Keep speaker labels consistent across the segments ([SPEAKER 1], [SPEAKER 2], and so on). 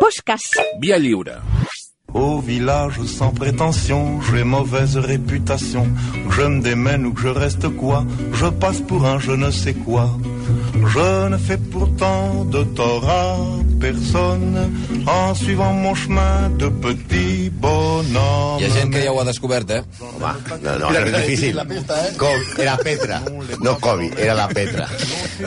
[SPEAKER 1] Pochcas.
[SPEAKER 2] Via lliure.
[SPEAKER 3] Au village sans prétention, j'ai mauvaise réputation. Que je me démène ou que je reste quoi, je passe pour un je ne sais quoi. Je ne fais pourtant de tort à personne en suivant mon chemin de petit bonhomme.
[SPEAKER 4] Hi ha gent que ja ho ha descobert, eh?
[SPEAKER 5] Home, no, no, no és difícil. Com, era Petra. No Kobe, era la Petra.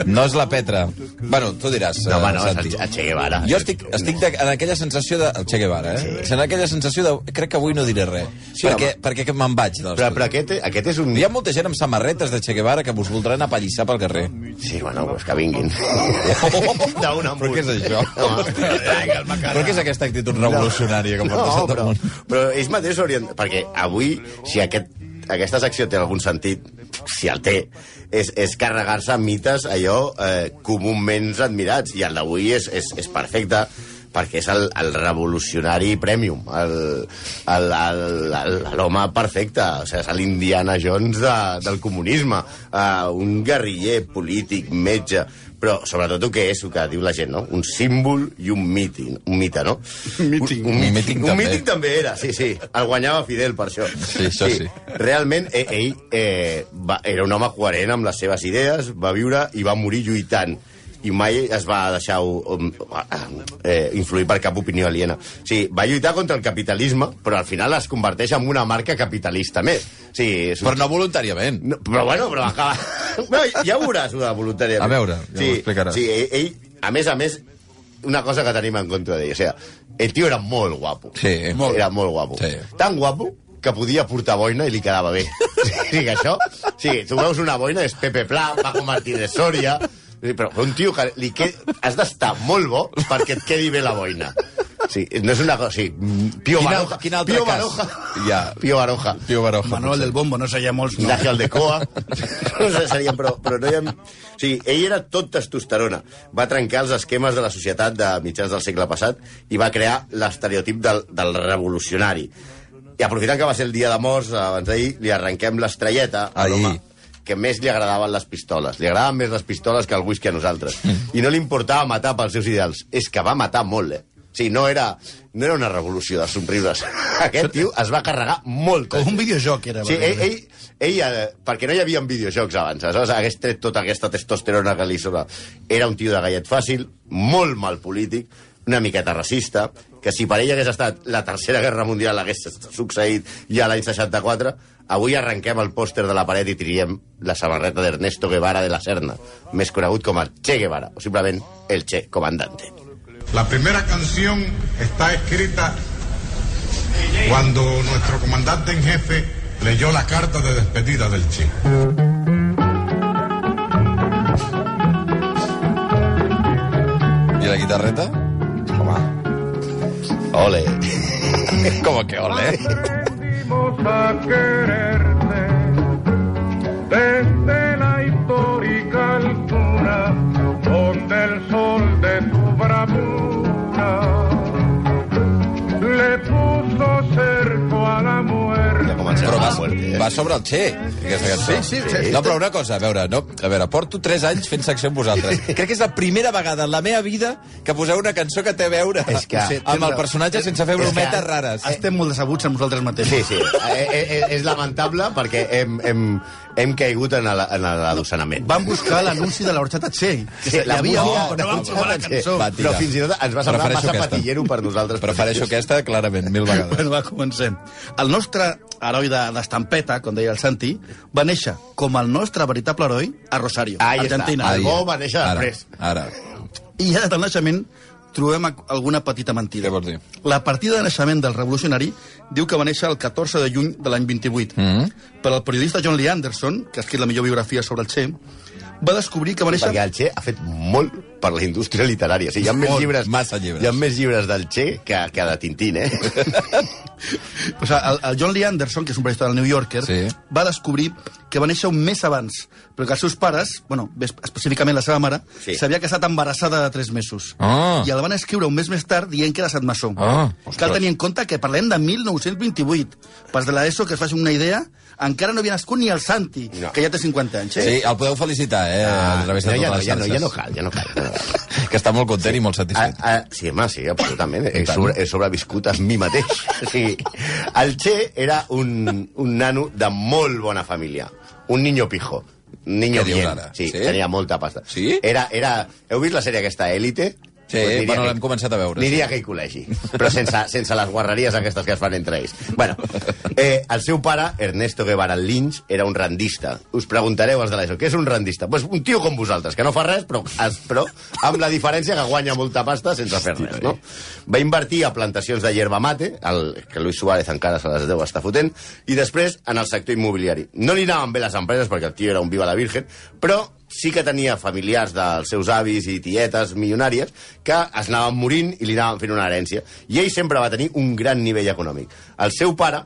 [SPEAKER 4] No és la Petra. Bueno, tu diràs,
[SPEAKER 5] No, home, no,
[SPEAKER 4] eh,
[SPEAKER 5] és el, el Che Guevara.
[SPEAKER 4] Jo estic, estic de, en aquella sensació de... El Che Guevara, eh? Sí. En aquella sensació de... Crec que avui no diré res. Sí, perquè, perquè que me'n vaig. Doncs.
[SPEAKER 5] Però, però aquest, aquest és un...
[SPEAKER 4] Hi ha molta gent amb samarretes de Che Guevara que us voldran apallissar pel carrer.
[SPEAKER 5] Sí, bueno, pues que vinguin. D'un en
[SPEAKER 4] Però què és això? Però què és aquesta actitud revolucionària que portes
[SPEAKER 5] No,
[SPEAKER 4] no,
[SPEAKER 5] però,
[SPEAKER 4] al món?
[SPEAKER 5] però ells mateixos haurien... Perquè avui, si aquest, aquesta secció té algun sentit, si el té, és, és carregar-se mites allò eh, comúment admirats. I el d'avui és, és, és perfecte perquè és el, el revolucionari premium, el- el- el- el- l'home perfecte, o sigui, és l'Indiana Jones de, del comunisme, uh, un guerriller polític, metge, però sobretot el que és, el que diu la gent, no? un símbol i un míting, un mite, no?
[SPEAKER 4] Míting.
[SPEAKER 5] Un, un,
[SPEAKER 4] Un míting
[SPEAKER 5] míting, un
[SPEAKER 4] també.
[SPEAKER 5] míting també era, sí, sí. El guanyava Fidel, per això.
[SPEAKER 4] Sí, això sí.
[SPEAKER 5] Realment, eh, ell eh, va, era un home coherent amb les seves idees, va viure i va morir lluitant i mai es va deixar um, eh, influir per cap opinió aliena. O sigui, va lluitar contra el capitalisme, però al final es converteix en una marca capitalista més. O sigui, és un
[SPEAKER 4] Però no voluntàriament.
[SPEAKER 5] no, però bueno, però acaba... No, ja ho veuràs, una voluntària.
[SPEAKER 4] A veure, ja m'ho explicaràs.
[SPEAKER 5] Sí, ell, ell, a més a més, una cosa que tenim en contra d'ell, o sigui, el tio era molt guapo.
[SPEAKER 4] Sí.
[SPEAKER 5] Molt. Era molt guapo.
[SPEAKER 4] Sí.
[SPEAKER 5] Tan guapo que podia portar boina i li quedava bé. O sigui que això... Sí, tu veus una boina, és Pepe Pla, Paco Martínez Soria... Sí, Però un tio que li que... has d'estar molt bo perquè et quedi bé la boina. Sí, no és una cosa... Sí, mm, Pío
[SPEAKER 4] Quin al-
[SPEAKER 5] Baroja.
[SPEAKER 4] quin altre
[SPEAKER 5] Pío
[SPEAKER 4] cas?
[SPEAKER 5] Baroja.
[SPEAKER 4] Ja.
[SPEAKER 5] Pío Baroja.
[SPEAKER 4] Tio Baroja.
[SPEAKER 6] Manuel del Bombo, no seria molts
[SPEAKER 5] No.
[SPEAKER 6] noms.
[SPEAKER 5] Ángel de Coa. No sé, serien, però, però no hi ha... O sigui, ell era tot testosterona. Va trencar els esquemes de la societat de mitjans del segle passat i va crear l'estereotip del, del revolucionari. I aprofitant que va ser el dia de morts, eh, abans d'ahir, li arrenquem l'estrelleta a
[SPEAKER 4] Ahir.
[SPEAKER 5] l'home que més li agradaven les pistoles. Li agradaven més les pistoles que el whisky a nosaltres.
[SPEAKER 6] Mm.
[SPEAKER 5] I no li importava matar pels seus ideals. És que va matar molt, eh? O sigui, no era, no era una revolució de somriures. Aquest tio es va carregar molt.
[SPEAKER 6] Com un videojoc era.
[SPEAKER 5] Sí, ell,
[SPEAKER 6] perquè-
[SPEAKER 5] ell, ell eh, perquè no hi havia videojocs abans, aleshores hagués tret tota aquesta testosterona que li sobra. Era un tio de gallet fàcil, molt mal polític, una miqueta racista, que si per ell hagués estat la Tercera Guerra Mundial hagués succeït ja l'any 64, avui arrenquem el pòster de la paret i triem la samarreta d'Ernesto Guevara de la Serna, més conegut com el Che Guevara, o simplement el Che Comandante.
[SPEAKER 7] La primera canción está escrita cuando nuestro comandante en jefe leyó la carta de despedida del Che.
[SPEAKER 4] I la guitarreta? Home,
[SPEAKER 5] Ole!
[SPEAKER 4] com que ole, eh?
[SPEAKER 8] a quererte desde la histórica altura donde el sol de tu bravura le puso cerco a la muerte.
[SPEAKER 5] Ja comencem
[SPEAKER 4] Però
[SPEAKER 5] amb
[SPEAKER 4] va,
[SPEAKER 5] la muerte, eh?
[SPEAKER 4] va sobre el Che, aquesta cançó.
[SPEAKER 6] Sí, sí, sí.
[SPEAKER 4] No, però una cosa, a veure, no, a veure, porto 3 anys fent secció amb vosaltres. Crec que és la primera vegada en la meva vida que poseu una cançó que té a veure
[SPEAKER 5] És que-
[SPEAKER 4] amb el personatge sense fer
[SPEAKER 5] És que-
[SPEAKER 4] brometes rares.
[SPEAKER 6] Estem molt decebuts amb nosaltres
[SPEAKER 5] Sí,
[SPEAKER 6] mateixos.
[SPEAKER 5] sí. Eh, eh, eh, és lamentable perquè hem, hem, hem caigut en el- en l'adossenament.
[SPEAKER 6] Van buscar l'anunci de l'Horchata Che. que
[SPEAKER 5] Sí,
[SPEAKER 6] hi
[SPEAKER 5] la
[SPEAKER 6] havia
[SPEAKER 5] música-
[SPEAKER 6] un-
[SPEAKER 5] no,
[SPEAKER 6] no van posar la
[SPEAKER 5] sí.
[SPEAKER 6] cançó.
[SPEAKER 4] Va,
[SPEAKER 5] Però
[SPEAKER 4] tira.
[SPEAKER 5] fins i tot ens va semblar
[SPEAKER 4] Prefereixo
[SPEAKER 5] massa
[SPEAKER 4] aquesta.
[SPEAKER 5] patillero per nosaltres.
[SPEAKER 4] Prefereixo aquesta, clarament, mil vegades.
[SPEAKER 6] Bueno, va, comencem. El nostre heroi de- d'estampeta, com deia el Santi, va néixer com el nostre veritable heroi a Rosario,
[SPEAKER 5] Ahí està.
[SPEAKER 6] Argentina.
[SPEAKER 5] El
[SPEAKER 4] Ahí.
[SPEAKER 5] bo va néixer
[SPEAKER 4] Ara,
[SPEAKER 5] després.
[SPEAKER 4] Ara,
[SPEAKER 6] I ja des del naixement trobem ac- alguna petita mentida.
[SPEAKER 4] Què vols dir?
[SPEAKER 6] La partida de naixement del revolucionari diu que va néixer el 14 de juny de l'any 28. Mm -hmm. Però el periodista John Lee Anderson, que ha escrit la millor biografia sobre el Che, va descobrir que va néixer...
[SPEAKER 5] Perquè el Che ha fet molt per la indústria literària. O sigui, hi ha més
[SPEAKER 4] Molt,
[SPEAKER 5] llibres,
[SPEAKER 4] massa llibres.
[SPEAKER 5] Hi ha més llibres del Che que, que de Tintín, eh?
[SPEAKER 6] O sigui, el, el John Lee Anderson, que és un periodista del New Yorker,
[SPEAKER 4] Sí.
[SPEAKER 6] va descobrir que va néixer un mes abans, però que els seus pares, bueno, bé, específicament la seva mare,
[SPEAKER 5] Sí.
[SPEAKER 6] s'havia casat embarassada de 3 mesos.
[SPEAKER 4] Ah.
[SPEAKER 6] I el van escriure un mes més tard dient que era Sadmassó.
[SPEAKER 4] Ah,
[SPEAKER 6] Cal tenir en compte que parlem de 1928. Pas de l'ESO, que es faci una idea, encara no havia nascut ni el Santi,
[SPEAKER 5] No.
[SPEAKER 6] que ja té 50 anys. Eh?
[SPEAKER 4] Sí, el podeu felicitar, eh, a través de
[SPEAKER 5] Ah, no, ja,
[SPEAKER 4] totes
[SPEAKER 5] no,
[SPEAKER 4] les
[SPEAKER 5] ja, no, ja no
[SPEAKER 4] xarxes.
[SPEAKER 5] cal, ja no cal.
[SPEAKER 4] que està molt content sí. i molt
[SPEAKER 5] A,
[SPEAKER 4] satisfet.
[SPEAKER 5] a, sí, Ah, home, sí, absolutament. He,
[SPEAKER 4] tant.
[SPEAKER 5] sobre, he sobreviscut a mi mateix. O sigui, el Che era un, un nano de molt bona família. Un niño pijo. Un niño
[SPEAKER 4] Què dius
[SPEAKER 5] bien.
[SPEAKER 4] ara?
[SPEAKER 5] Sí,
[SPEAKER 4] Sí?
[SPEAKER 5] sí, tenia molta pasta.
[SPEAKER 4] Sí?
[SPEAKER 5] Era, era... Heu vist la sèrie aquesta, Élite?
[SPEAKER 4] Sí, bueno, l'hem començat a veure,
[SPEAKER 5] Aniria a aquell col·legi, però sense, sense les guarreries aquestes que es fan entre ells. Bueno, eh, el seu pare, Ernesto Guevara Lynch, era un randista. Us preguntareu, els de l'ESO, què és un randista? Pues un tio com vosaltres, que no fa res, però, es, però amb la diferència que guanya molta pasta sense fer
[SPEAKER 4] eh.
[SPEAKER 5] res, no? Va invertir a plantacions de yerba mate, el, que Luis Suárez encara se les deu estar fotent, i després en el sector immobiliari. No li anaven bé les empreses, perquè el tio era un viva la virgen, però sí que tenia familiars dels seus avis i tietes milionàries que es anaven morint i li anaven fent una herència. I ell sempre va tenir un gran nivell econòmic. El seu pare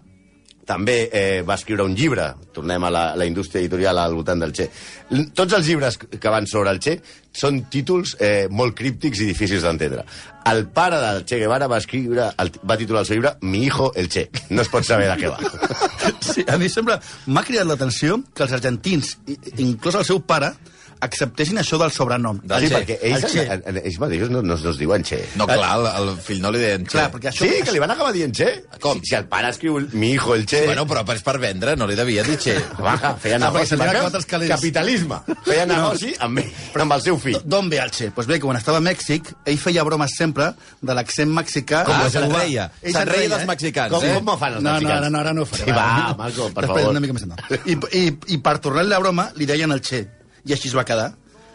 [SPEAKER 5] també eh, va escriure un llibre, tornem a la, la indústria editorial al voltant del Che. L- Tots els llibres que van sobre el Che són títols eh, molt críptics i difícils d'entendre. El pare del Che Guevara va escriure, el, va titular el seu llibre Mi hijo el Che. No es pot saber de què va.
[SPEAKER 6] Sí, a mi sembla... M'ha cridat l'atenció que els argentins, i- inclòs el seu pare, acceptessin això del sobrenom.
[SPEAKER 4] Del
[SPEAKER 5] Sí,
[SPEAKER 4] Che.
[SPEAKER 5] perquè ells,
[SPEAKER 6] El Che.
[SPEAKER 5] en- en- ells mateixos no, no, no es diuen Che.
[SPEAKER 4] No, clar, el, el fill no li deien...
[SPEAKER 6] Clar,
[SPEAKER 4] che.
[SPEAKER 6] perquè això...
[SPEAKER 5] Sí, que li van acabar dient Che.
[SPEAKER 4] Com?
[SPEAKER 5] Si, si el pare escriu el- mi hijo el Che...
[SPEAKER 4] Bueno, però és per vendre, no li devia dir che.
[SPEAKER 5] Baja, feia
[SPEAKER 6] Ah,
[SPEAKER 5] negoci.
[SPEAKER 6] perquè se li han
[SPEAKER 5] Marcas,
[SPEAKER 6] acabat els calés.
[SPEAKER 5] Capitalisme. Feia negoci amb, ell, però amb el seu fill.
[SPEAKER 6] D'on ve el Che? Doncs pues bé, que quan estava a Mèxic, ell feia bromes sempre de l'accent mexicà.
[SPEAKER 4] Com
[SPEAKER 6] Ah,
[SPEAKER 4] se'n
[SPEAKER 6] cubà.
[SPEAKER 4] reia.
[SPEAKER 6] Ell
[SPEAKER 4] Se'n
[SPEAKER 6] se'n
[SPEAKER 4] reia dels
[SPEAKER 6] eh?
[SPEAKER 4] mexicans,
[SPEAKER 5] Com,
[SPEAKER 4] eh?
[SPEAKER 5] com me fan els
[SPEAKER 6] no, no,
[SPEAKER 5] mexicans?
[SPEAKER 6] ara no, ara no ho faré.
[SPEAKER 5] Sí, va,
[SPEAKER 6] no.
[SPEAKER 5] Marco, per
[SPEAKER 6] Després,
[SPEAKER 5] favor.
[SPEAKER 6] Una mica més endavant. I, i, I per tornar la broma, li deien el Che, i així es va quedar.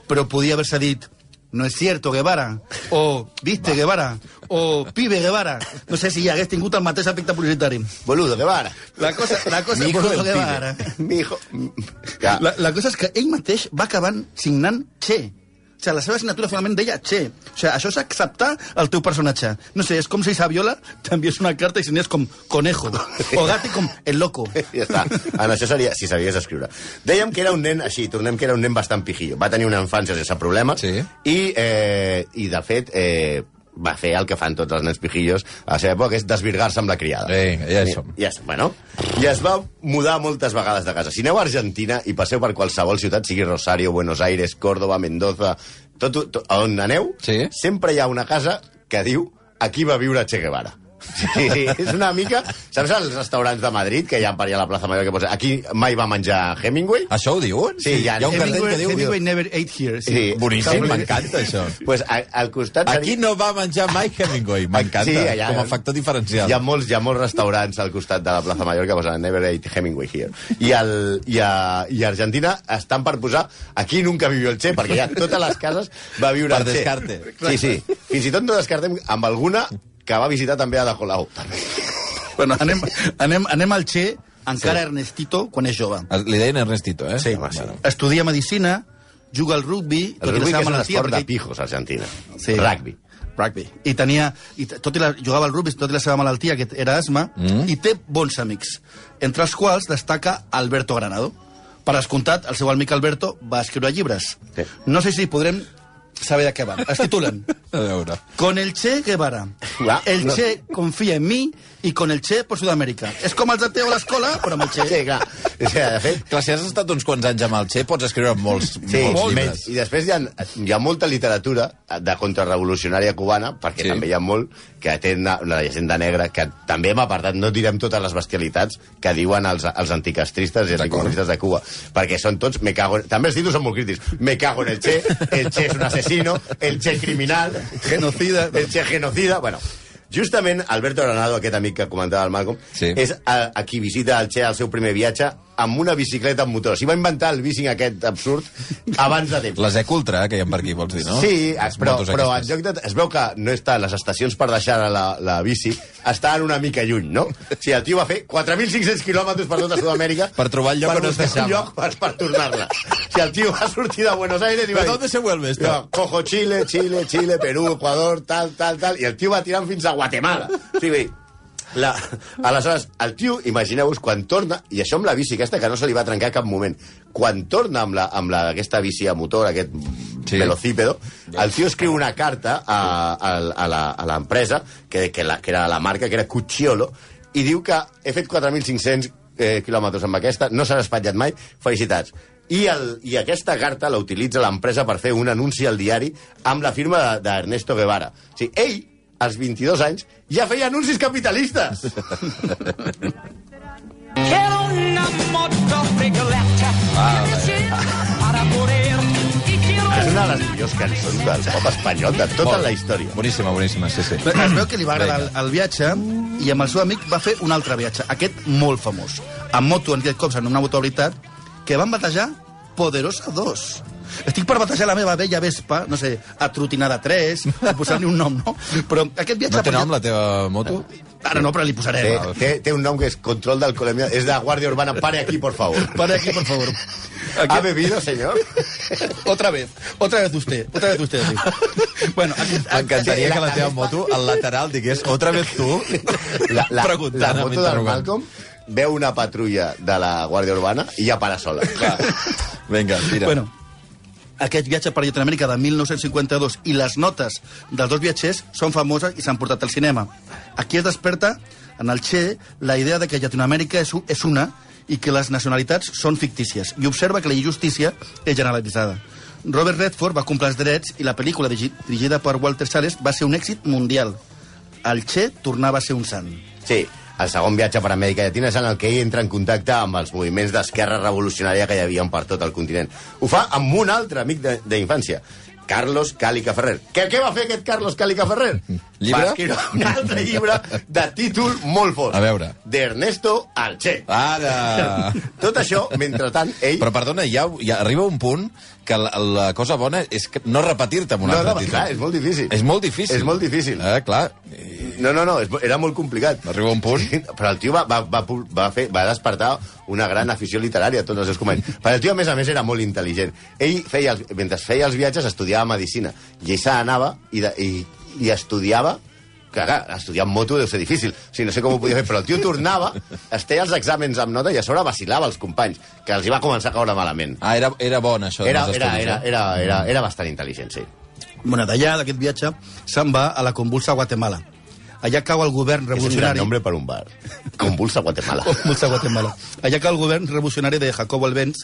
[SPEAKER 6] Però podia haver-se dit no és cierto, Guevara, o viste, Guevara, o pibe, Guevara. No sé si hi hagués tingut el mateix efecte publicitari.
[SPEAKER 5] Boludo, que va ara.
[SPEAKER 6] La cosa, la cosa,
[SPEAKER 5] Mi hijo
[SPEAKER 6] Boludo
[SPEAKER 5] del
[SPEAKER 6] Guevara.
[SPEAKER 5] pibe. Mi hijo... Ja.
[SPEAKER 6] La, la cosa és que ell mateix va acabar signant Che. O sigui, la seva assignatura finalment deia Che. O sigui, això és acceptar el teu personatge. No sé, és com si Saviola t'envies una carta i signes com Conejo. O Gatti com El Loco.
[SPEAKER 5] Ja està. En això seria, si sabies escriure. Dèiem que era un nen així, tornem que era un nen bastant pijillo. Va tenir una infància sense problemes
[SPEAKER 4] Sí.
[SPEAKER 5] i, eh, i de fet, eh, va fer el que fan tots els nens pijillos a la seva època, que és desvirgar-se amb la criada.
[SPEAKER 4] Vinga, ja hi
[SPEAKER 5] I-
[SPEAKER 4] som.
[SPEAKER 5] I, es, bueno, I es va mudar moltes vegades de casa. Si aneu a Argentina i passeu per qualsevol ciutat, sigui Rosario, Buenos Aires, Córdoba, Mendoza, tot, tot on aneu,
[SPEAKER 4] Sí.
[SPEAKER 5] sempre hi ha una casa que diu aquí va viure Che Guevara. Sí, és una mica... Saps els restaurants de Madrid que hi ha per allà a la plaça Major que posa aquí mai va menjar Hemingway?
[SPEAKER 4] Això ho diuen?
[SPEAKER 5] Sí, hi ha-
[SPEAKER 4] hi ha un cartell que diu...
[SPEAKER 6] Hemingway never ate here. Sí.
[SPEAKER 5] Sí.
[SPEAKER 4] Boníssim, m'encanta això.
[SPEAKER 5] Pues a, al costat...
[SPEAKER 4] Aquí no va menjar mai Hemingway, m'encanta,
[SPEAKER 5] Sí, allà-
[SPEAKER 4] com a factor diferencial.
[SPEAKER 5] Hi ha, molts, hi ha molts restaurants al costat de la plaça Major que posen Never Ate Hemingway here. I, el, i, a, I a Argentina estan per posar aquí nunca vivió el Che, perquè ja totes les cases va viure
[SPEAKER 4] Per
[SPEAKER 5] el Che.
[SPEAKER 4] descarte.
[SPEAKER 5] Sí, sí. Fins i tot no descartem amb alguna que va visitar també a la Colau.
[SPEAKER 6] Bueno, anem, anem, anem al Che, encara sí. Ernestito, quan és jove.
[SPEAKER 4] Ah, Li deien Ernestito, eh?
[SPEAKER 6] Sí.
[SPEAKER 5] home, sí.
[SPEAKER 6] Estudia medicina, juga al rugbi,
[SPEAKER 5] El rugby que
[SPEAKER 6] seva
[SPEAKER 5] és un
[SPEAKER 6] malaltia,
[SPEAKER 5] esport de
[SPEAKER 6] perquè-
[SPEAKER 5] pijos, a Argentina.
[SPEAKER 6] Sí.
[SPEAKER 5] Rugby.
[SPEAKER 6] Rugby. I tenia... I, t- tot i la, jugava al rugby, tot i la seva malaltia, que era asma, mm. i té bons amics, entre els quals destaca Alberto Granado. Per descomptat, el seu amic Alberto va escriure llibres.
[SPEAKER 5] Sí.
[SPEAKER 6] No sé si podrem saber de què van. Es titulen
[SPEAKER 4] A veure.
[SPEAKER 6] Con el Che Guevara.
[SPEAKER 5] Uah,
[SPEAKER 6] El
[SPEAKER 5] no.
[SPEAKER 6] Che confia en mi i con el Che por Sud-amèrica. És com els de Teo a l'escola, però amb el Che.
[SPEAKER 5] Sí, clar. O sigui, de fet,
[SPEAKER 4] Clar, si has estat uns quants anys amb el Che, pots escriure molts,
[SPEAKER 5] Sí,
[SPEAKER 4] molts
[SPEAKER 5] menys.
[SPEAKER 4] llibres.
[SPEAKER 5] I després hi ha, hi ha molta literatura de contrarrevolucionària cubana,
[SPEAKER 4] Sí.
[SPEAKER 5] perquè sí. també hi ha molt que té na- la llegenda negra, que també hem apartat, no direm totes les bestialitats que diuen els, els anticastristes i els anticomunistes de Cuba, perquè són tots me cago en... També els títols són molt crítics. Me cago en el Che, el Che és un asesino, el Che és criminal,
[SPEAKER 6] Genocida.
[SPEAKER 5] el Che genocida... Bueno, Justament, Alberto Granado, aquest amic que comentava el Malcolm,
[SPEAKER 4] Sí.
[SPEAKER 5] és a, a qui visita el Che al seu primer viatge amb una bicicleta amb motor. S'hi va inventar el bicing aquest absurd abans de temps.
[SPEAKER 4] Les Ecultra, que hi ha per aquí, vols dir, no?
[SPEAKER 5] Sí, ah,
[SPEAKER 4] Les
[SPEAKER 5] però,
[SPEAKER 4] motos
[SPEAKER 5] però en
[SPEAKER 4] aquestes.
[SPEAKER 5] lloc de... Es veu que no està, les estacions per deixar la, la bici estaven una mica lluny, no? O sigui, el tio va fer 4.500 quilòmetres per tota Sud-amèrica...
[SPEAKER 4] Per trobar el lloc on es
[SPEAKER 5] buscar
[SPEAKER 4] deixava.
[SPEAKER 5] un lloc per, per tornar-la. O sigui, el tio va sortir de Buenos Aires i va
[SPEAKER 4] ¿Pero dónde se vuelve esto?
[SPEAKER 5] No, cojo Chile, Chile, Chile, Perú, Ecuador, tal, tal, tal... I el tio va tirant fins a Guatemala. O sigui, la... Aleshores, el tio, imagineu-vos, quan torna, i això amb la bici aquesta, que no se li va trencar a cap moment, quan torna amb, la, amb la, aquesta bici a motor, aquest
[SPEAKER 4] Sí.
[SPEAKER 5] sí. velocípedo, el tio escriu una carta a, a, a la- a l'empresa, que, que, la, que era la marca, que era Cucciolo, i diu que he fet 4.500 eh, quilòmetres amb aquesta, no s'ha espatllat mai, felicitats. I, el, I aquesta carta la utilitza l'empresa per fer un anunci al diari amb la firma de- d'Ernesto Guevara. O sigui, ell, als 22 anys, ja feia anuncis capitalistes.
[SPEAKER 1] Quiero una moto regoleta. Para poder. Y quiero
[SPEAKER 5] és una de les millors cançons del pop espanyol de tota
[SPEAKER 4] Molt.
[SPEAKER 5] la història.
[SPEAKER 4] Boníssima, boníssima, sí, sí.
[SPEAKER 6] Es veu que li va agradar el, el viatge i amb el seu amic va fer un altre viatge, aquest molt famós, amb moto, en aquest cop en una motabilitat, que van batejar Poderosa 2. Estic per batejar la meva vella Vespa, no sé, atrotinada 3, o posar-li un nom, no? Però aquest viatge...
[SPEAKER 4] No té nom la teva moto?
[SPEAKER 6] Ara no, però li posarem.
[SPEAKER 5] Té, té, té un nom que és Control del Colèmia. És de Guàrdia Urbana. Pare aquí, por favor.
[SPEAKER 6] Pare aquí, por favor.
[SPEAKER 5] ¿Ha bebido, senyor?
[SPEAKER 6] Otra vez, otra vez usted, otra vez usted. diu. bueno, aquest,
[SPEAKER 4] M'encantaria
[SPEAKER 5] Sí, la-
[SPEAKER 4] que la
[SPEAKER 5] la
[SPEAKER 4] teva
[SPEAKER 5] Vespa-
[SPEAKER 4] moto, al lateral, digués otra vez tu,
[SPEAKER 5] La, la, la
[SPEAKER 4] preguntant amb
[SPEAKER 5] moto del
[SPEAKER 4] interrogant.
[SPEAKER 5] Malcolm veu una patrulla de la Guàrdia Urbana i ja para sola. Clar.
[SPEAKER 4] Vinga, tira.
[SPEAKER 6] Bueno, aquest viatge per Llatinoamèrica de 1952 i les notes dels dos viatgers són famoses i s'han portat al cinema. Aquí es desperta, en el Che, la idea de que Llatinoamèrica és, u- és una i que les nacionalitats són fictícies i observa que la injustícia és generalitzada. Robert Redford va complir els drets i la pel·lícula dirigi- dirigida per Walter Salles va ser un èxit mundial. El Che tornava a ser un sant.
[SPEAKER 5] Sí, el segon viatge per Amèrica Llatina és en el que ell entra en contacte amb els moviments d'esquerra revolucionària que hi havia per tot el continent. Ho fa amb un altre amic de- d'infància, Carlos Cálica Ferrer. Què, què va fer aquest Carlos Cálica Ferrer?
[SPEAKER 4] Llibre?
[SPEAKER 5] Va escriure un altre llibre de títol molt fort.
[SPEAKER 4] A veure. Ah.
[SPEAKER 5] D'Ernesto Alche.
[SPEAKER 4] Ara!
[SPEAKER 5] Tot això, mentrestant, ell...
[SPEAKER 4] Però perdona, ja, ja arriba un punt que la, la cosa bona és que no repetir-te amb un
[SPEAKER 5] No,
[SPEAKER 4] altre
[SPEAKER 5] no,
[SPEAKER 4] títol.
[SPEAKER 5] clar, és molt difícil.
[SPEAKER 4] És molt difícil.
[SPEAKER 5] És molt difícil.
[SPEAKER 4] Eh, clar. I-
[SPEAKER 5] No, no, no, és- era molt complicat.
[SPEAKER 4] Arriba un punt.
[SPEAKER 5] Però el tio va, va, va, pu- va, fer, va despertar una gran afició literària a tots els seus companys. Però el tio, a més a més, era molt intel·ligent. Ell, feia els, mentre feia els viatges, estudiava Medicina. I ell se n'anava i, de- i, i estudiava que, clar, estudiar amb moto deu ser difícil. O sigui, no sé com ho podia fer, però el tio tornava, es feia els exàmens amb nota i a sobre vacilava els companys, que els hi va començar a caure malament.
[SPEAKER 4] Ah, era, era bon, això.
[SPEAKER 5] Era,
[SPEAKER 4] dels
[SPEAKER 5] era,
[SPEAKER 4] estudis,
[SPEAKER 5] era,
[SPEAKER 4] eh?
[SPEAKER 5] era, era, era bastant intel·ligent, sí.
[SPEAKER 6] Bueno, d'allà, d'aquest viatge, se'n va a la convulsa Guatemala. Allà cau el
[SPEAKER 5] És
[SPEAKER 6] govern
[SPEAKER 5] un gran
[SPEAKER 6] revolucionari...
[SPEAKER 5] nombre per un bar. Convulsa Guatemala.
[SPEAKER 6] Convulsa Guatemala. Allà que el govern revolucionari de Jacobo Albens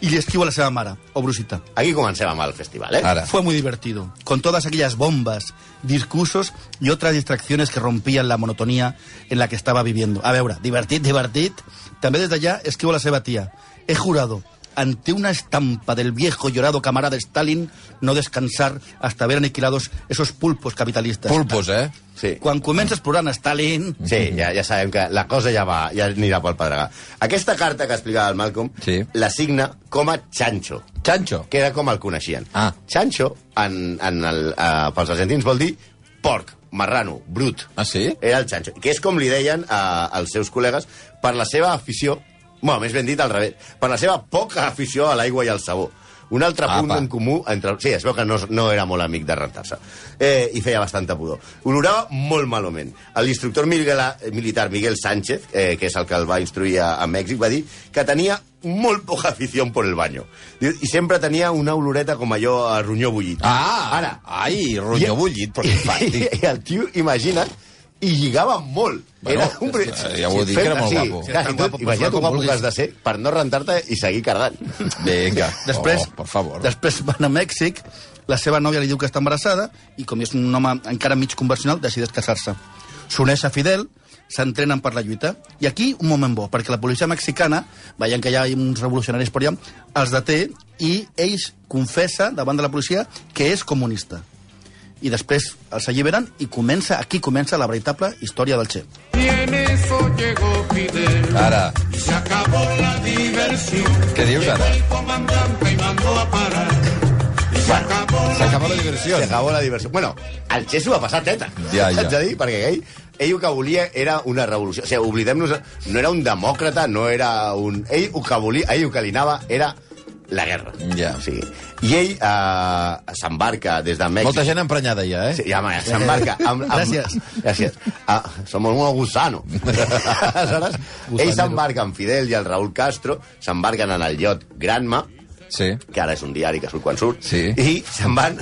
[SPEAKER 6] i li escriu a la seva mare, Obrusita.
[SPEAKER 5] Aquí comencem amb el festival, eh?
[SPEAKER 4] Ara.
[SPEAKER 6] Fue muy divertido, con todas aquellas bombas, discursos y otras distracciones que rompían la monotonía en la que estaba viviendo. A veure, divertit, divertit. També des d'allà escriu a la seva tia. He jurado, ante una estampa del viejo y llorado camarada Stalin, no descansar hasta ver aniquilados esos pulpos capitalistas.
[SPEAKER 4] Pulpos, eh?
[SPEAKER 5] Sí.
[SPEAKER 6] Quan comences plorant a Stalin,
[SPEAKER 5] Sí, ja, ja sabem que la cosa ja va, ja anirà pel pedregar. Aquesta carta que explicava el Malcolm
[SPEAKER 4] Sí.
[SPEAKER 5] la signa com a Chancho,
[SPEAKER 4] Chancho.
[SPEAKER 5] que era com el coneixien.
[SPEAKER 4] Ah.
[SPEAKER 5] Chancho, en, en el, eh, pels argentins, vol dir porc, marrano, brut.
[SPEAKER 4] Ah, sí?
[SPEAKER 5] Era el Chancho, que és com li deien eh, als seus col·legues per la seva afició, bueno, més ben dit al revés, per la seva poca afició a l'aigua i al sabó. Un altre
[SPEAKER 4] Apa.
[SPEAKER 5] punt en comú entre... Sí, es veu que no, no era molt amic de rentar-se. Eh, I feia bastanta pudor. Olorava molt malament. L'instructor Miguel, eh, militar Miguel Sánchez, eh, que és el que el va instruir a, a Mèxic, va dir que tenia molt poca afició por el baño. Diu, I sempre tenia una oloreta com allò a ronyó bullit.
[SPEAKER 4] Ah!
[SPEAKER 5] Ara,
[SPEAKER 4] Ai, ronyó bullit, però
[SPEAKER 5] i,
[SPEAKER 4] infàntic.
[SPEAKER 5] i el tio, imagina't, i lligava molt.
[SPEAKER 4] Bueno,
[SPEAKER 5] un...
[SPEAKER 4] ja està, ja ho he dit, que era molt guapo. pues
[SPEAKER 5] Clar, i
[SPEAKER 6] guapo,
[SPEAKER 5] tu, imagina't
[SPEAKER 6] com
[SPEAKER 5] com guapo
[SPEAKER 6] vulguis.
[SPEAKER 5] que has de ser per no rentar-te i seguir cardant.
[SPEAKER 4] Vinga.
[SPEAKER 6] Després,
[SPEAKER 4] Oh, per favor.
[SPEAKER 6] després van a Mèxic, la seva nòvia li diu que està embarassada i com és un home encara mig convencional, decideix casar-se. S'uneix a Fidel, s'entrenen per la lluita. I aquí un moment bo, perquè la policia mexicana, veient que hi ha uns revolucionaris per allà, els deté i ells confessa davant de la policia que és comunista. I després els alliberen i comença aquí comença la veritable història del Che.
[SPEAKER 8] Y en eso llegó Fidel.
[SPEAKER 4] Ara.
[SPEAKER 8] Se acabó la diversión.
[SPEAKER 4] Què dius ara?
[SPEAKER 8] El comandante mandó a parar. Y se acabó la
[SPEAKER 4] S'acaba la diversió.
[SPEAKER 5] Se acabó la diversió. Bueno, el Che s'ho va passar teta.
[SPEAKER 4] Ja, ja.
[SPEAKER 5] Saps a dir? Perquè ell, ell el que volia era una revolució. O sigui, oblidem-nos... No era un demòcrata, no era un... Ell el que volia, ell el que li anava era la guerra.
[SPEAKER 4] Ja.
[SPEAKER 5] O sigui, I ell eh, s'embarca des de Mèxic...
[SPEAKER 4] Molta gent emprenyada ja, eh?
[SPEAKER 5] Sí, ja, home, s'embarca. Amb, amb...
[SPEAKER 6] Gràcies.
[SPEAKER 5] Gràcies. Ah, som un gusano. Aleshores, ell s'embarca amb Fidel i el Raúl Castro, s'embarquen en el llot Granma,
[SPEAKER 4] Sí.
[SPEAKER 5] que ara és un diari que surt quan surt,
[SPEAKER 4] Sí.
[SPEAKER 5] i se'n van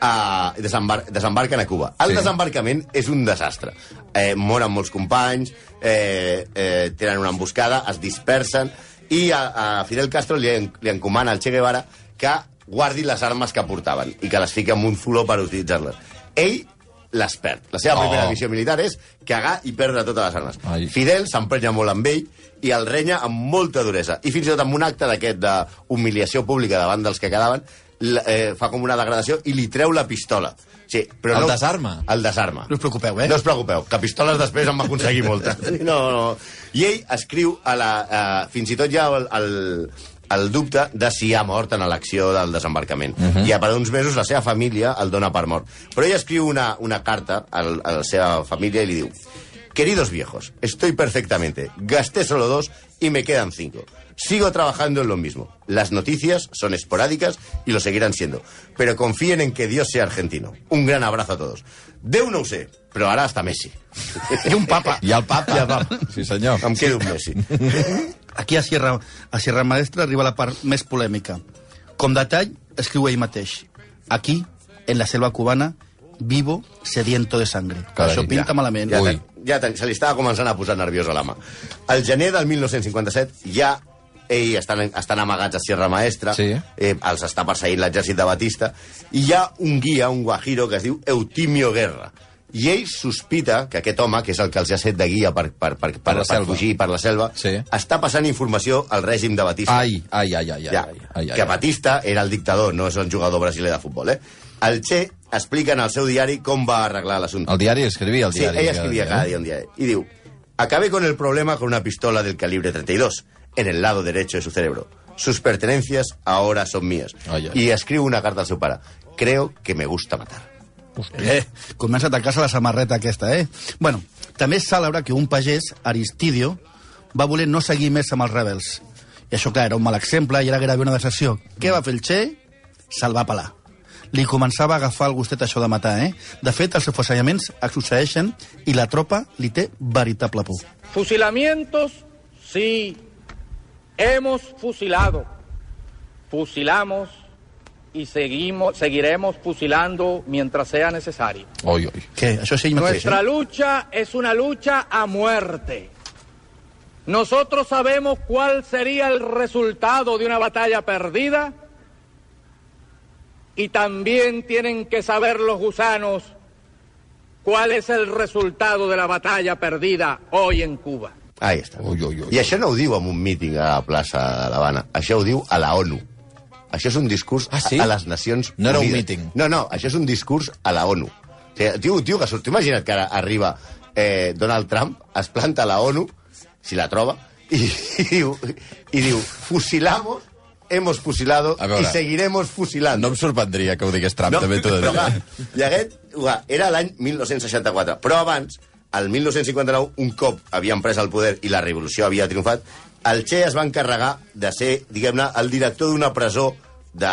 [SPEAKER 5] a... Desembar desembarquen a Cuba. El
[SPEAKER 4] Sí.
[SPEAKER 5] sí. desembarcament és un desastre. Eh, moren molts companys, eh, eh, tenen una emboscada, es dispersen, I a, a Fidel Castro li, en- li encomana al Che Guevara que guardi les armes que portaven i que les fica en un fuló per utilitzar-les. Ell les perd. La seva primera
[SPEAKER 4] Oh.
[SPEAKER 5] missió militar és cagar i perdre totes les armes.
[SPEAKER 4] Ai.
[SPEAKER 5] Fidel s'emprenya molt amb ell i el renya amb molta duresa. I fins i tot amb un acte d'aquest d'humiliació pública davant dels que quedaven, l- eh, fa com una degradació i li treu la pistola. Sí, però
[SPEAKER 4] El
[SPEAKER 5] no,
[SPEAKER 4] desarma?
[SPEAKER 5] El desarma.
[SPEAKER 6] No us preocupeu, eh?
[SPEAKER 5] No us preocupeu, que pistoles després en va aconseguir moltes. No, no. I ell escriu a la... eh, fins i tot ja el, el, el dubte de si ha mort en l'acció del desembarcament. Uh -huh. I a per uns mesos la seva família el dona per mort. Però ell escriu una, una carta al, a la seva família i li diu Queridos viejos, estoy perfectamente. Gasté solo dos y me quedan cinco. Sigo trabajando en lo mismo. Las noticias son esporádicas y lo seguirán siendo. Pero confíen en que Dios sea argentino. Un gran abrazo a todos. De no ho sé, però ara hasta Messi.
[SPEAKER 6] I un papa.
[SPEAKER 4] I el papa. I el papa. Sí, senyor.
[SPEAKER 5] Em quedo amb Messi.
[SPEAKER 6] Aquí a Sierra, a Sierra Maestra arriba la part més polèmica. Com detall, escriu ell mateix. Aquí, en la selva cubana, vivo sediento de sangre.
[SPEAKER 4] Carai,
[SPEAKER 6] Això pinta
[SPEAKER 4] ja.
[SPEAKER 6] malament.
[SPEAKER 5] Ja,
[SPEAKER 4] Ui.
[SPEAKER 5] ten- ja ten, se li estava començant a posar nerviós a l'ama. El gener del 1957 ja ell estan, estan amagats a Sierra Maestra,
[SPEAKER 4] Sí.
[SPEAKER 5] eh, els està perseguint l'exèrcit de Batista, i hi ha un guia, un guajiro, que es diu Eutimio Guerra. I ell sospita que aquest home, que és el que els ha set de guia per, per, per, per, per,
[SPEAKER 4] la
[SPEAKER 5] per
[SPEAKER 4] selva.
[SPEAKER 5] fugir per la selva,
[SPEAKER 4] Sí.
[SPEAKER 5] està passant informació al règim de Batista.
[SPEAKER 4] Ai, ai, ai, ai, ai,
[SPEAKER 5] ja,
[SPEAKER 4] ai, ai, ai.
[SPEAKER 5] que Batista era el dictador, no és un jugador brasiler de futbol, eh? El Che explica en el seu diari com va arreglar l'assumpte.
[SPEAKER 4] El diari escrivia, el
[SPEAKER 5] Sí,
[SPEAKER 4] diari. eh?
[SPEAKER 5] ella escribía cada día ¿eh? un día. Y digo, acabé con el problema con una pistola del calibre 32 en el lado derecho de su cerebro. Sus pertenencias ahora son mías.
[SPEAKER 4] Ay, ay.
[SPEAKER 5] Y escribo una carta a su para. Creo que me gusta matar.
[SPEAKER 6] Eh, comença a atacar-se la samarreta aquesta, eh? Bueno, també és cèlebre que un pagès, Aristidio, va voler no seguir més amb els rebels. I això, clar, era un mal exemple i era gairebé una decepció. Què va fer el Che? Se'l va pelar. Li començava a agafar el gustet això de matar, eh? De fet, els afusellaments es succeeixen i la tropa li té veritable por.
[SPEAKER 2] Fusilamientos, sí. Hemos fusilado. Fusilamos y seguimos, seguiremos fusilando mientras sea necesario.
[SPEAKER 4] Oi, oi.
[SPEAKER 6] Què? Això és ell mateix,
[SPEAKER 2] Nuestra
[SPEAKER 6] eh?
[SPEAKER 2] lucha es una lucha a muerte. Nosotros sabemos cuál sería el resultado de una batalla perdida y también tienen que saber los gusanos cuál es el resultado de la batalla perdida hoy en Cuba.
[SPEAKER 5] Ahí está.
[SPEAKER 4] Ui, ui, ui.
[SPEAKER 5] I això no ho diu en un míting a la plaça de l'Havana, això ho diu a la ONU. Això és un discurs
[SPEAKER 4] Ah, sí?
[SPEAKER 5] a les Nacions
[SPEAKER 4] No era un
[SPEAKER 5] Unides.
[SPEAKER 4] míting.
[SPEAKER 5] No, no, això és un discurs a la ONU. O sigui, tio, tio que surt, imagina't que ara arriba eh, Donald Trump, es planta a la ONU, si la troba, i, i, diu, i diu, fusilamos, hemos fusilado
[SPEAKER 4] A veure.
[SPEAKER 5] y seguiremos fusilando.
[SPEAKER 4] No em sorprendria que ho digués Trump, també t'ho he de
[SPEAKER 5] però,
[SPEAKER 4] dir. eh?
[SPEAKER 5] clar, I aquest, clar, era l'any 1964, però abans, el 1959, un cop havien pres el poder i la revolució havia triomfat, el Che es va encarregar de ser, diguem-ne, el director d'una presó de,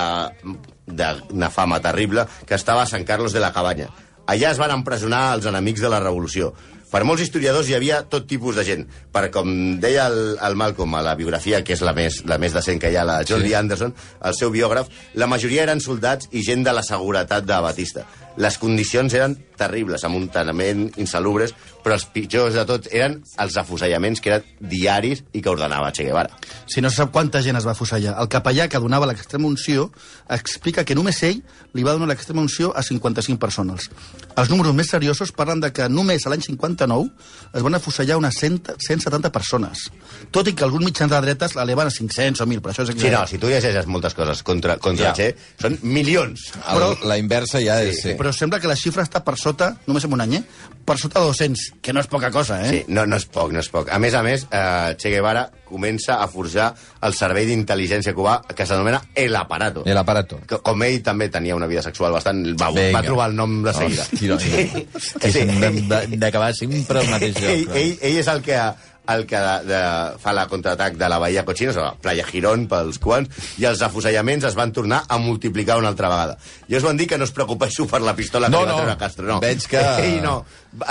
[SPEAKER 5] d'una fama terrible que estava a Sant Carlos de la Cabanya. Allà es van empresonar els enemics de la revolució. Per molts historiadors hi havia tot tipus de gent. Per com deia el, el Malcolm a la biografia, que és la més, la més decent que hi ha, la John
[SPEAKER 4] Sí.
[SPEAKER 5] sí. Anderson, el seu biògraf, la majoria eren soldats i gent de la seguretat de Batista. Les condicions eren terribles, amb un tanament insalubres, però els pitjors de tot eren els afusellaments que eren diaris i que ordenava Che Guevara.
[SPEAKER 6] Si no se sap quanta gent es va afusellar. El capellà que donava l'extrema unció explica que només ell li va donar l'extrema unció a 55 persones. Els números més seriosos parlen de que només a l'any 59 es van afusellar unes 100, 170 persones. Tot i que alguns mitjans de dretes l'eleven a 500 o 1.000, però això és
[SPEAKER 5] Sí, no,
[SPEAKER 6] exagerat.
[SPEAKER 5] si tu llegeixes moltes coses contra, contra
[SPEAKER 4] Ja.
[SPEAKER 5] ja. Che, són milions.
[SPEAKER 4] El,
[SPEAKER 6] però-
[SPEAKER 4] la inversa ja és... eh, Sí.
[SPEAKER 6] Però sembla que la xifra està per sota, només en un any, eh? per sota de 200, que no és poca cosa, eh?
[SPEAKER 5] Sí, no, no és poc, no és poc. A més a més, eh, Che Guevara comença a forjar el servei d'intel·ligència cubà que s'anomena El Aparato.
[SPEAKER 4] El aparato.
[SPEAKER 5] Co- Com ell també tenia una vida sexual bastant... Va,
[SPEAKER 4] Vinga.
[SPEAKER 5] va trobar el nom de seguida.
[SPEAKER 4] Hòstia, sí. Que sí. hem d'acabar sempre al mateix
[SPEAKER 5] ell,
[SPEAKER 4] lloc. eh?
[SPEAKER 5] ell, ell és el que el que de, de, fa la contraatac de la Bahia Cochinos, a la Playa Girón, pels quants, i els afusellaments es van tornar a multiplicar una altra vegada. I us van dir que no es preocupeixo per la pistola
[SPEAKER 4] No,
[SPEAKER 5] que li
[SPEAKER 4] no.
[SPEAKER 5] va treure Castro. No,
[SPEAKER 4] Veig que-
[SPEAKER 5] Ell no,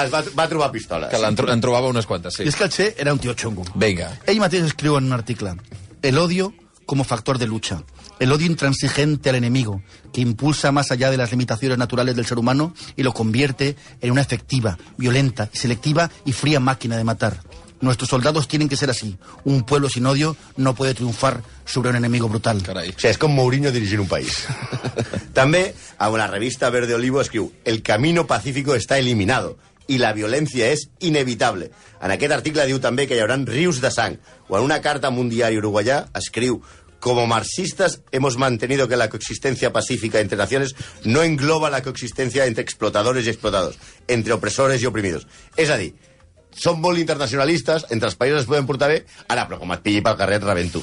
[SPEAKER 5] es va, va trobar pistoles.
[SPEAKER 4] Que l'en tro- en trobava unes quantes, sí.
[SPEAKER 6] I és que el Che era un tio xungo.
[SPEAKER 4] Vinga.
[SPEAKER 6] Ell mateix escriu en un article El odio como factor de lucha. El odio intransigente al enemigo, que impulsa más allá de las limitaciones naturales del ser humano y lo convierte en una efectiva, violenta, selectiva y fría máquina de matar. Nuestros soldados tienen que ser así. Un pueblo sin odio no puede triunfar sobre un enemigo brutal.
[SPEAKER 4] Carai.
[SPEAKER 5] O sigui, és com Mourinho dirigint un país. També, a la revista Verde Olivo escriu El camino pacífico está eliminado i la violència és inevitable. En aquest article diu també que hi haurà rius de sang. O en una carta amb un diari uruguayà escriu Como marxistas hemos mantenido que la coexistencia pacífica entre naciones no engloba la coexistencia entre explotadores y explotados, entre opresores i oprimidos. És a dir, són molt internacionalistes, entre els països es poden portar bé, ara, però com et pilli pel carrer et rebento.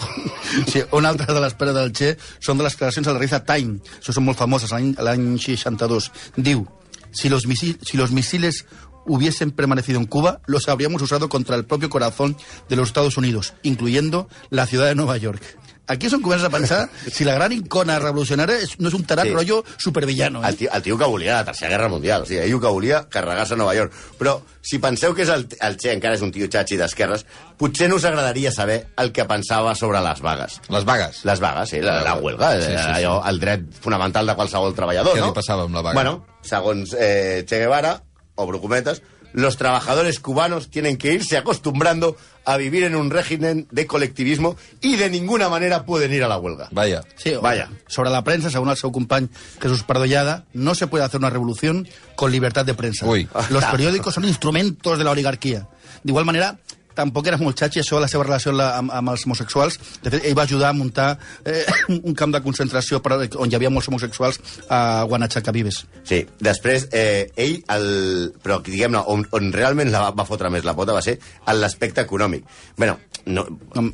[SPEAKER 6] Sí, una altra de les peres del Che són de les declaracions de la revista Time. Això són molt famoses, l'any- l'any 62. Diu, si los, misi- si los misiles hubiesen permanecido en Cuba, los habríamos usado contra el propio corazón de los Estados Unidos, incluyendo la ciudad de Nueva York. Aquí son comienzas a pensar si la gran icona revolucionaria es- no es un tarán
[SPEAKER 5] Sí.
[SPEAKER 6] rollo supervillano. ¿eh?
[SPEAKER 5] El tio, el tio que volia la Tercera Guerra Mundial. O sigui, ell el que volia carregar-se a Nova York. Però si penseu que és el, el Che encara és un tio xatxi d'esquerres, potser no us agradaria saber el que pensava sobre les vagues.
[SPEAKER 4] Les vagues.
[SPEAKER 5] Les vagues, sí, la, la huelga, sí, sí, sí. allò, el dret fonamental de qualsevol treballador,
[SPEAKER 4] Què li
[SPEAKER 5] no?
[SPEAKER 4] passava amb la vaga?
[SPEAKER 5] Bueno, segons eh, Che Guevara, obro cometes, los trabajadores cubanos tienen que irse acostumbrando a vivir en un régimen de colectivismo y de ninguna manera pueden ir a la huelga.
[SPEAKER 4] Vaya.
[SPEAKER 6] Sí, o-
[SPEAKER 5] Vaya.
[SPEAKER 6] Sobre la prensa, según el seu company Jesús Pardollada, no se puede hacer una revolución con libertad de prensa.
[SPEAKER 4] Uy.
[SPEAKER 6] Los periódicos son instrumentos de la oligarquía. De igual manera, tampoc eres molt xatxi, això de la seva relació amb, la- amb, amb els homosexuals. De fet, ell va ajudar a muntar eh, un camp de concentració per, on hi havia molts homosexuals a Guanachacavives.
[SPEAKER 5] Sí, després, eh, ell, el... però diguem-ne, on, on realment la va, va fotre més la pota va ser en l'aspecte econòmic. bueno, no,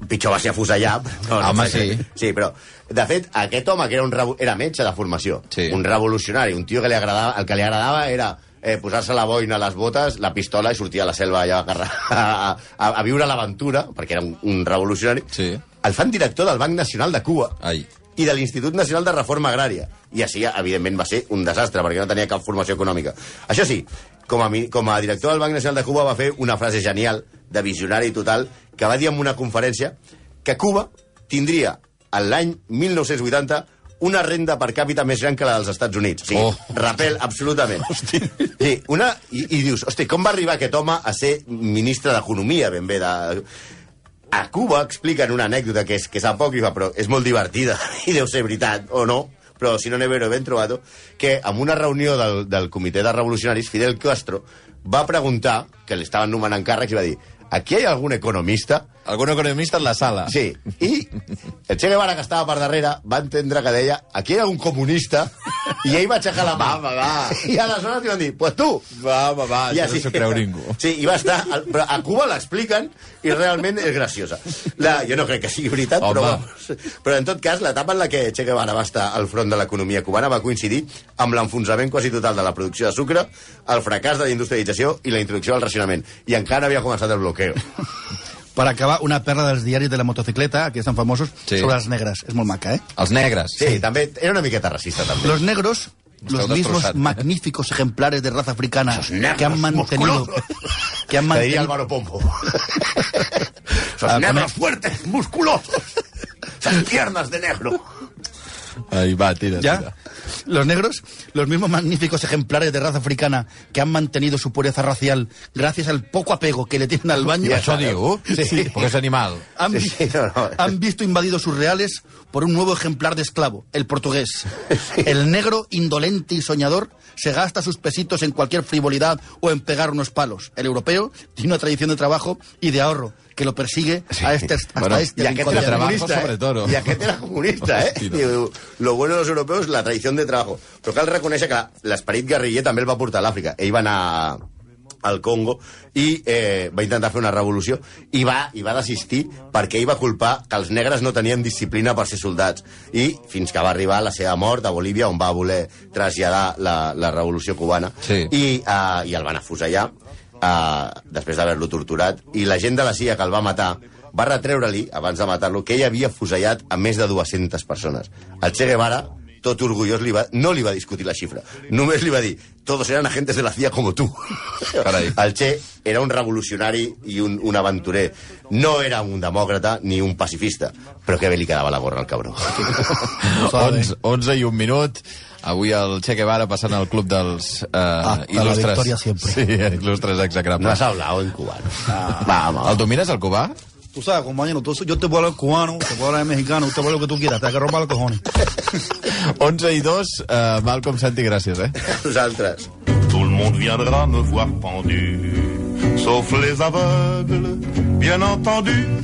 [SPEAKER 5] pitjor va ser afusellar. No, no,
[SPEAKER 4] Home,
[SPEAKER 5] va ser-
[SPEAKER 4] sí.
[SPEAKER 5] Sí, però, de fet, aquest home, que era, un, revo- era metge de formació,
[SPEAKER 4] Sí.
[SPEAKER 5] un revolucionari, un tio que li agradava, el que li agradava era eh, posar-se la boina, les botes, la pistola i sortir a la selva allà a, agarrar- a, a, a viure l'aventura, perquè era un, un revolucionari,
[SPEAKER 4] Sí.
[SPEAKER 5] el fan director del Banc Nacional de Cuba
[SPEAKER 4] Ai.
[SPEAKER 5] i de l'Institut Nacional de Reforma Agrària. I així, evidentment, va ser un desastre, perquè no tenia cap formació econòmica. Això sí, com a, mi- com a director del Banc Nacional de Cuba va fer una frase genial, de visionari total, que va dir en una conferència que Cuba tindria, a l'any 1980, una renda per càpita més gran que la dels Estats Units. O sigui,
[SPEAKER 4] Oh.
[SPEAKER 5] Rapel, absolutament. Hosti. Sí, una... I, I dius, hosti, com va arribar aquest home a ser ministre d'Economia, ben bé, de... A Cuba expliquen una anècdota que és, que és apòcrifa, però és molt divertida, i deu ser veritat, o no, però si no n'he vero ben trobat, que en una reunió del, del Comitè de Revolucionaris, Fidel Castro va preguntar, que li estaven nomenant càrrecs, i va dir, aquí hi ha algun economista?
[SPEAKER 4] Algun economista en la sala.
[SPEAKER 5] Sí, i el Che Guevara, que estava per darrere, va entendre que deia aquí era un comunista, i ell va aixecar la mà. Va, va. Ah, I aleshores li van dir, pues tu.
[SPEAKER 4] Va, va, va,
[SPEAKER 5] I
[SPEAKER 4] això no s'ho creu ningú.
[SPEAKER 5] Sí, i va estar... al- Però a Cuba l'expliquen i realment és graciosa. La, jo no crec que sigui veritat,
[SPEAKER 4] Home.
[SPEAKER 5] però, vamos, però en tot cas, l'etapa en la que Che Guevara va estar al front de l'economia cubana va coincidir amb l'enfonsament quasi total de la producció de sucre, el fracàs de la industrialització i la introducció al racionament. I encara no havia començat el bloqueo.
[SPEAKER 6] Per acabar, una perla dels diaris de la motocicleta, que estan famosos,
[SPEAKER 4] Sí.
[SPEAKER 6] sí. sobre els negres. És molt maca, eh?
[SPEAKER 4] Els negres.
[SPEAKER 5] Sí, també era una miqueta racista, també.
[SPEAKER 6] Los negros, los
[SPEAKER 4] Esteu
[SPEAKER 6] mismos
[SPEAKER 4] destrozados.
[SPEAKER 6] magníficos ejemplares de raza africana
[SPEAKER 5] negros
[SPEAKER 6] que han mantenido...
[SPEAKER 5] musculosos.
[SPEAKER 6] Que han
[SPEAKER 5] Que diría
[SPEAKER 6] mantenido...
[SPEAKER 5] Álvaro Pombo.
[SPEAKER 6] Ah,
[SPEAKER 5] Esos
[SPEAKER 6] con el-
[SPEAKER 5] negros fuertes, musculosos. Esas piernas de negro.
[SPEAKER 4] Ai, va, tira,
[SPEAKER 6] ¿Ya?
[SPEAKER 4] tira.
[SPEAKER 6] Los negros, los mismos magníficos ejemplares de raza africana que han mantenido su pureza racial gracias al poco apego que le tienen al baño,
[SPEAKER 4] I això diu?
[SPEAKER 6] Sí.
[SPEAKER 4] Perquè és animal.
[SPEAKER 6] han,
[SPEAKER 5] Sí, sí, no, no.
[SPEAKER 6] han visto invadidos sus reales por un nuevo ejemplar de esclavo, el portugués. El negro, indolente y soñador, se gasta sus pesitos en cualquier frivolidad o en pegar unos palos. El europeo tiene una tradición de trabajo y de ahorro que lo persigue a este, hasta
[SPEAKER 4] Bueno,
[SPEAKER 6] este
[SPEAKER 5] Y
[SPEAKER 6] rincón
[SPEAKER 5] aquel
[SPEAKER 4] de
[SPEAKER 5] era
[SPEAKER 6] del mundo.
[SPEAKER 4] trabajo
[SPEAKER 5] comunista,
[SPEAKER 4] sobre
[SPEAKER 5] ¿eh?
[SPEAKER 4] todo.
[SPEAKER 5] I aquest era comunista, eh?
[SPEAKER 4] Hòstia.
[SPEAKER 5] Diu, lo bueno de los europeos, la tradición de trabajo. Però cal reconèixer que l'esperit guerriller també el va portar a l'Àfrica. Ell va anar al Congo i eh, va intentar fer una revolució i va, i va desistir perquè ell va culpar que els negres no tenien disciplina per ser soldats i fins que va arribar la seva mort a Bolívia on va voler traslladar la, la revolució cubana
[SPEAKER 4] Sí.
[SPEAKER 5] i i, uh, i el van afusellar uh, després d'haver-lo torturat i la gent de la CIA que el va matar va retreure-li, abans de matar-lo, que ell havia afusellat a més de 200 persones. El Che Guevara, tot orgullós, li va, no li va discutir la xifra. Només li va dir, todos eran agentes de la CIA como tú.
[SPEAKER 4] Carai.
[SPEAKER 5] El Che era un revolucionari i un, un aventurer. No era un demòcrata ni un pacifista, però que bé li quedava la gorra al cabró.
[SPEAKER 4] 11, 11 i un minut. Avui el Che Guevara passant al club dels eh, ah,
[SPEAKER 9] de la victoria siempre.
[SPEAKER 4] Sí, il·lustres
[SPEAKER 5] No
[SPEAKER 4] execrables.
[SPEAKER 5] has hablado en cubano. Vamos.
[SPEAKER 4] El domines, el cubà?
[SPEAKER 5] pues.
[SPEAKER 6] Tú sabes, compañero, tú- yo te puedo hablar cubano, te puedo hablar mexicano, te puedo hablar lo que tú quieras, te que rompa los cojones.
[SPEAKER 4] 11 i 2, eh, Malcolm Santi, gràcies, eh?
[SPEAKER 5] Nosaltres.
[SPEAKER 7] Tout le monde viendra me voir pendu, sauf les aveugles, bien entendu.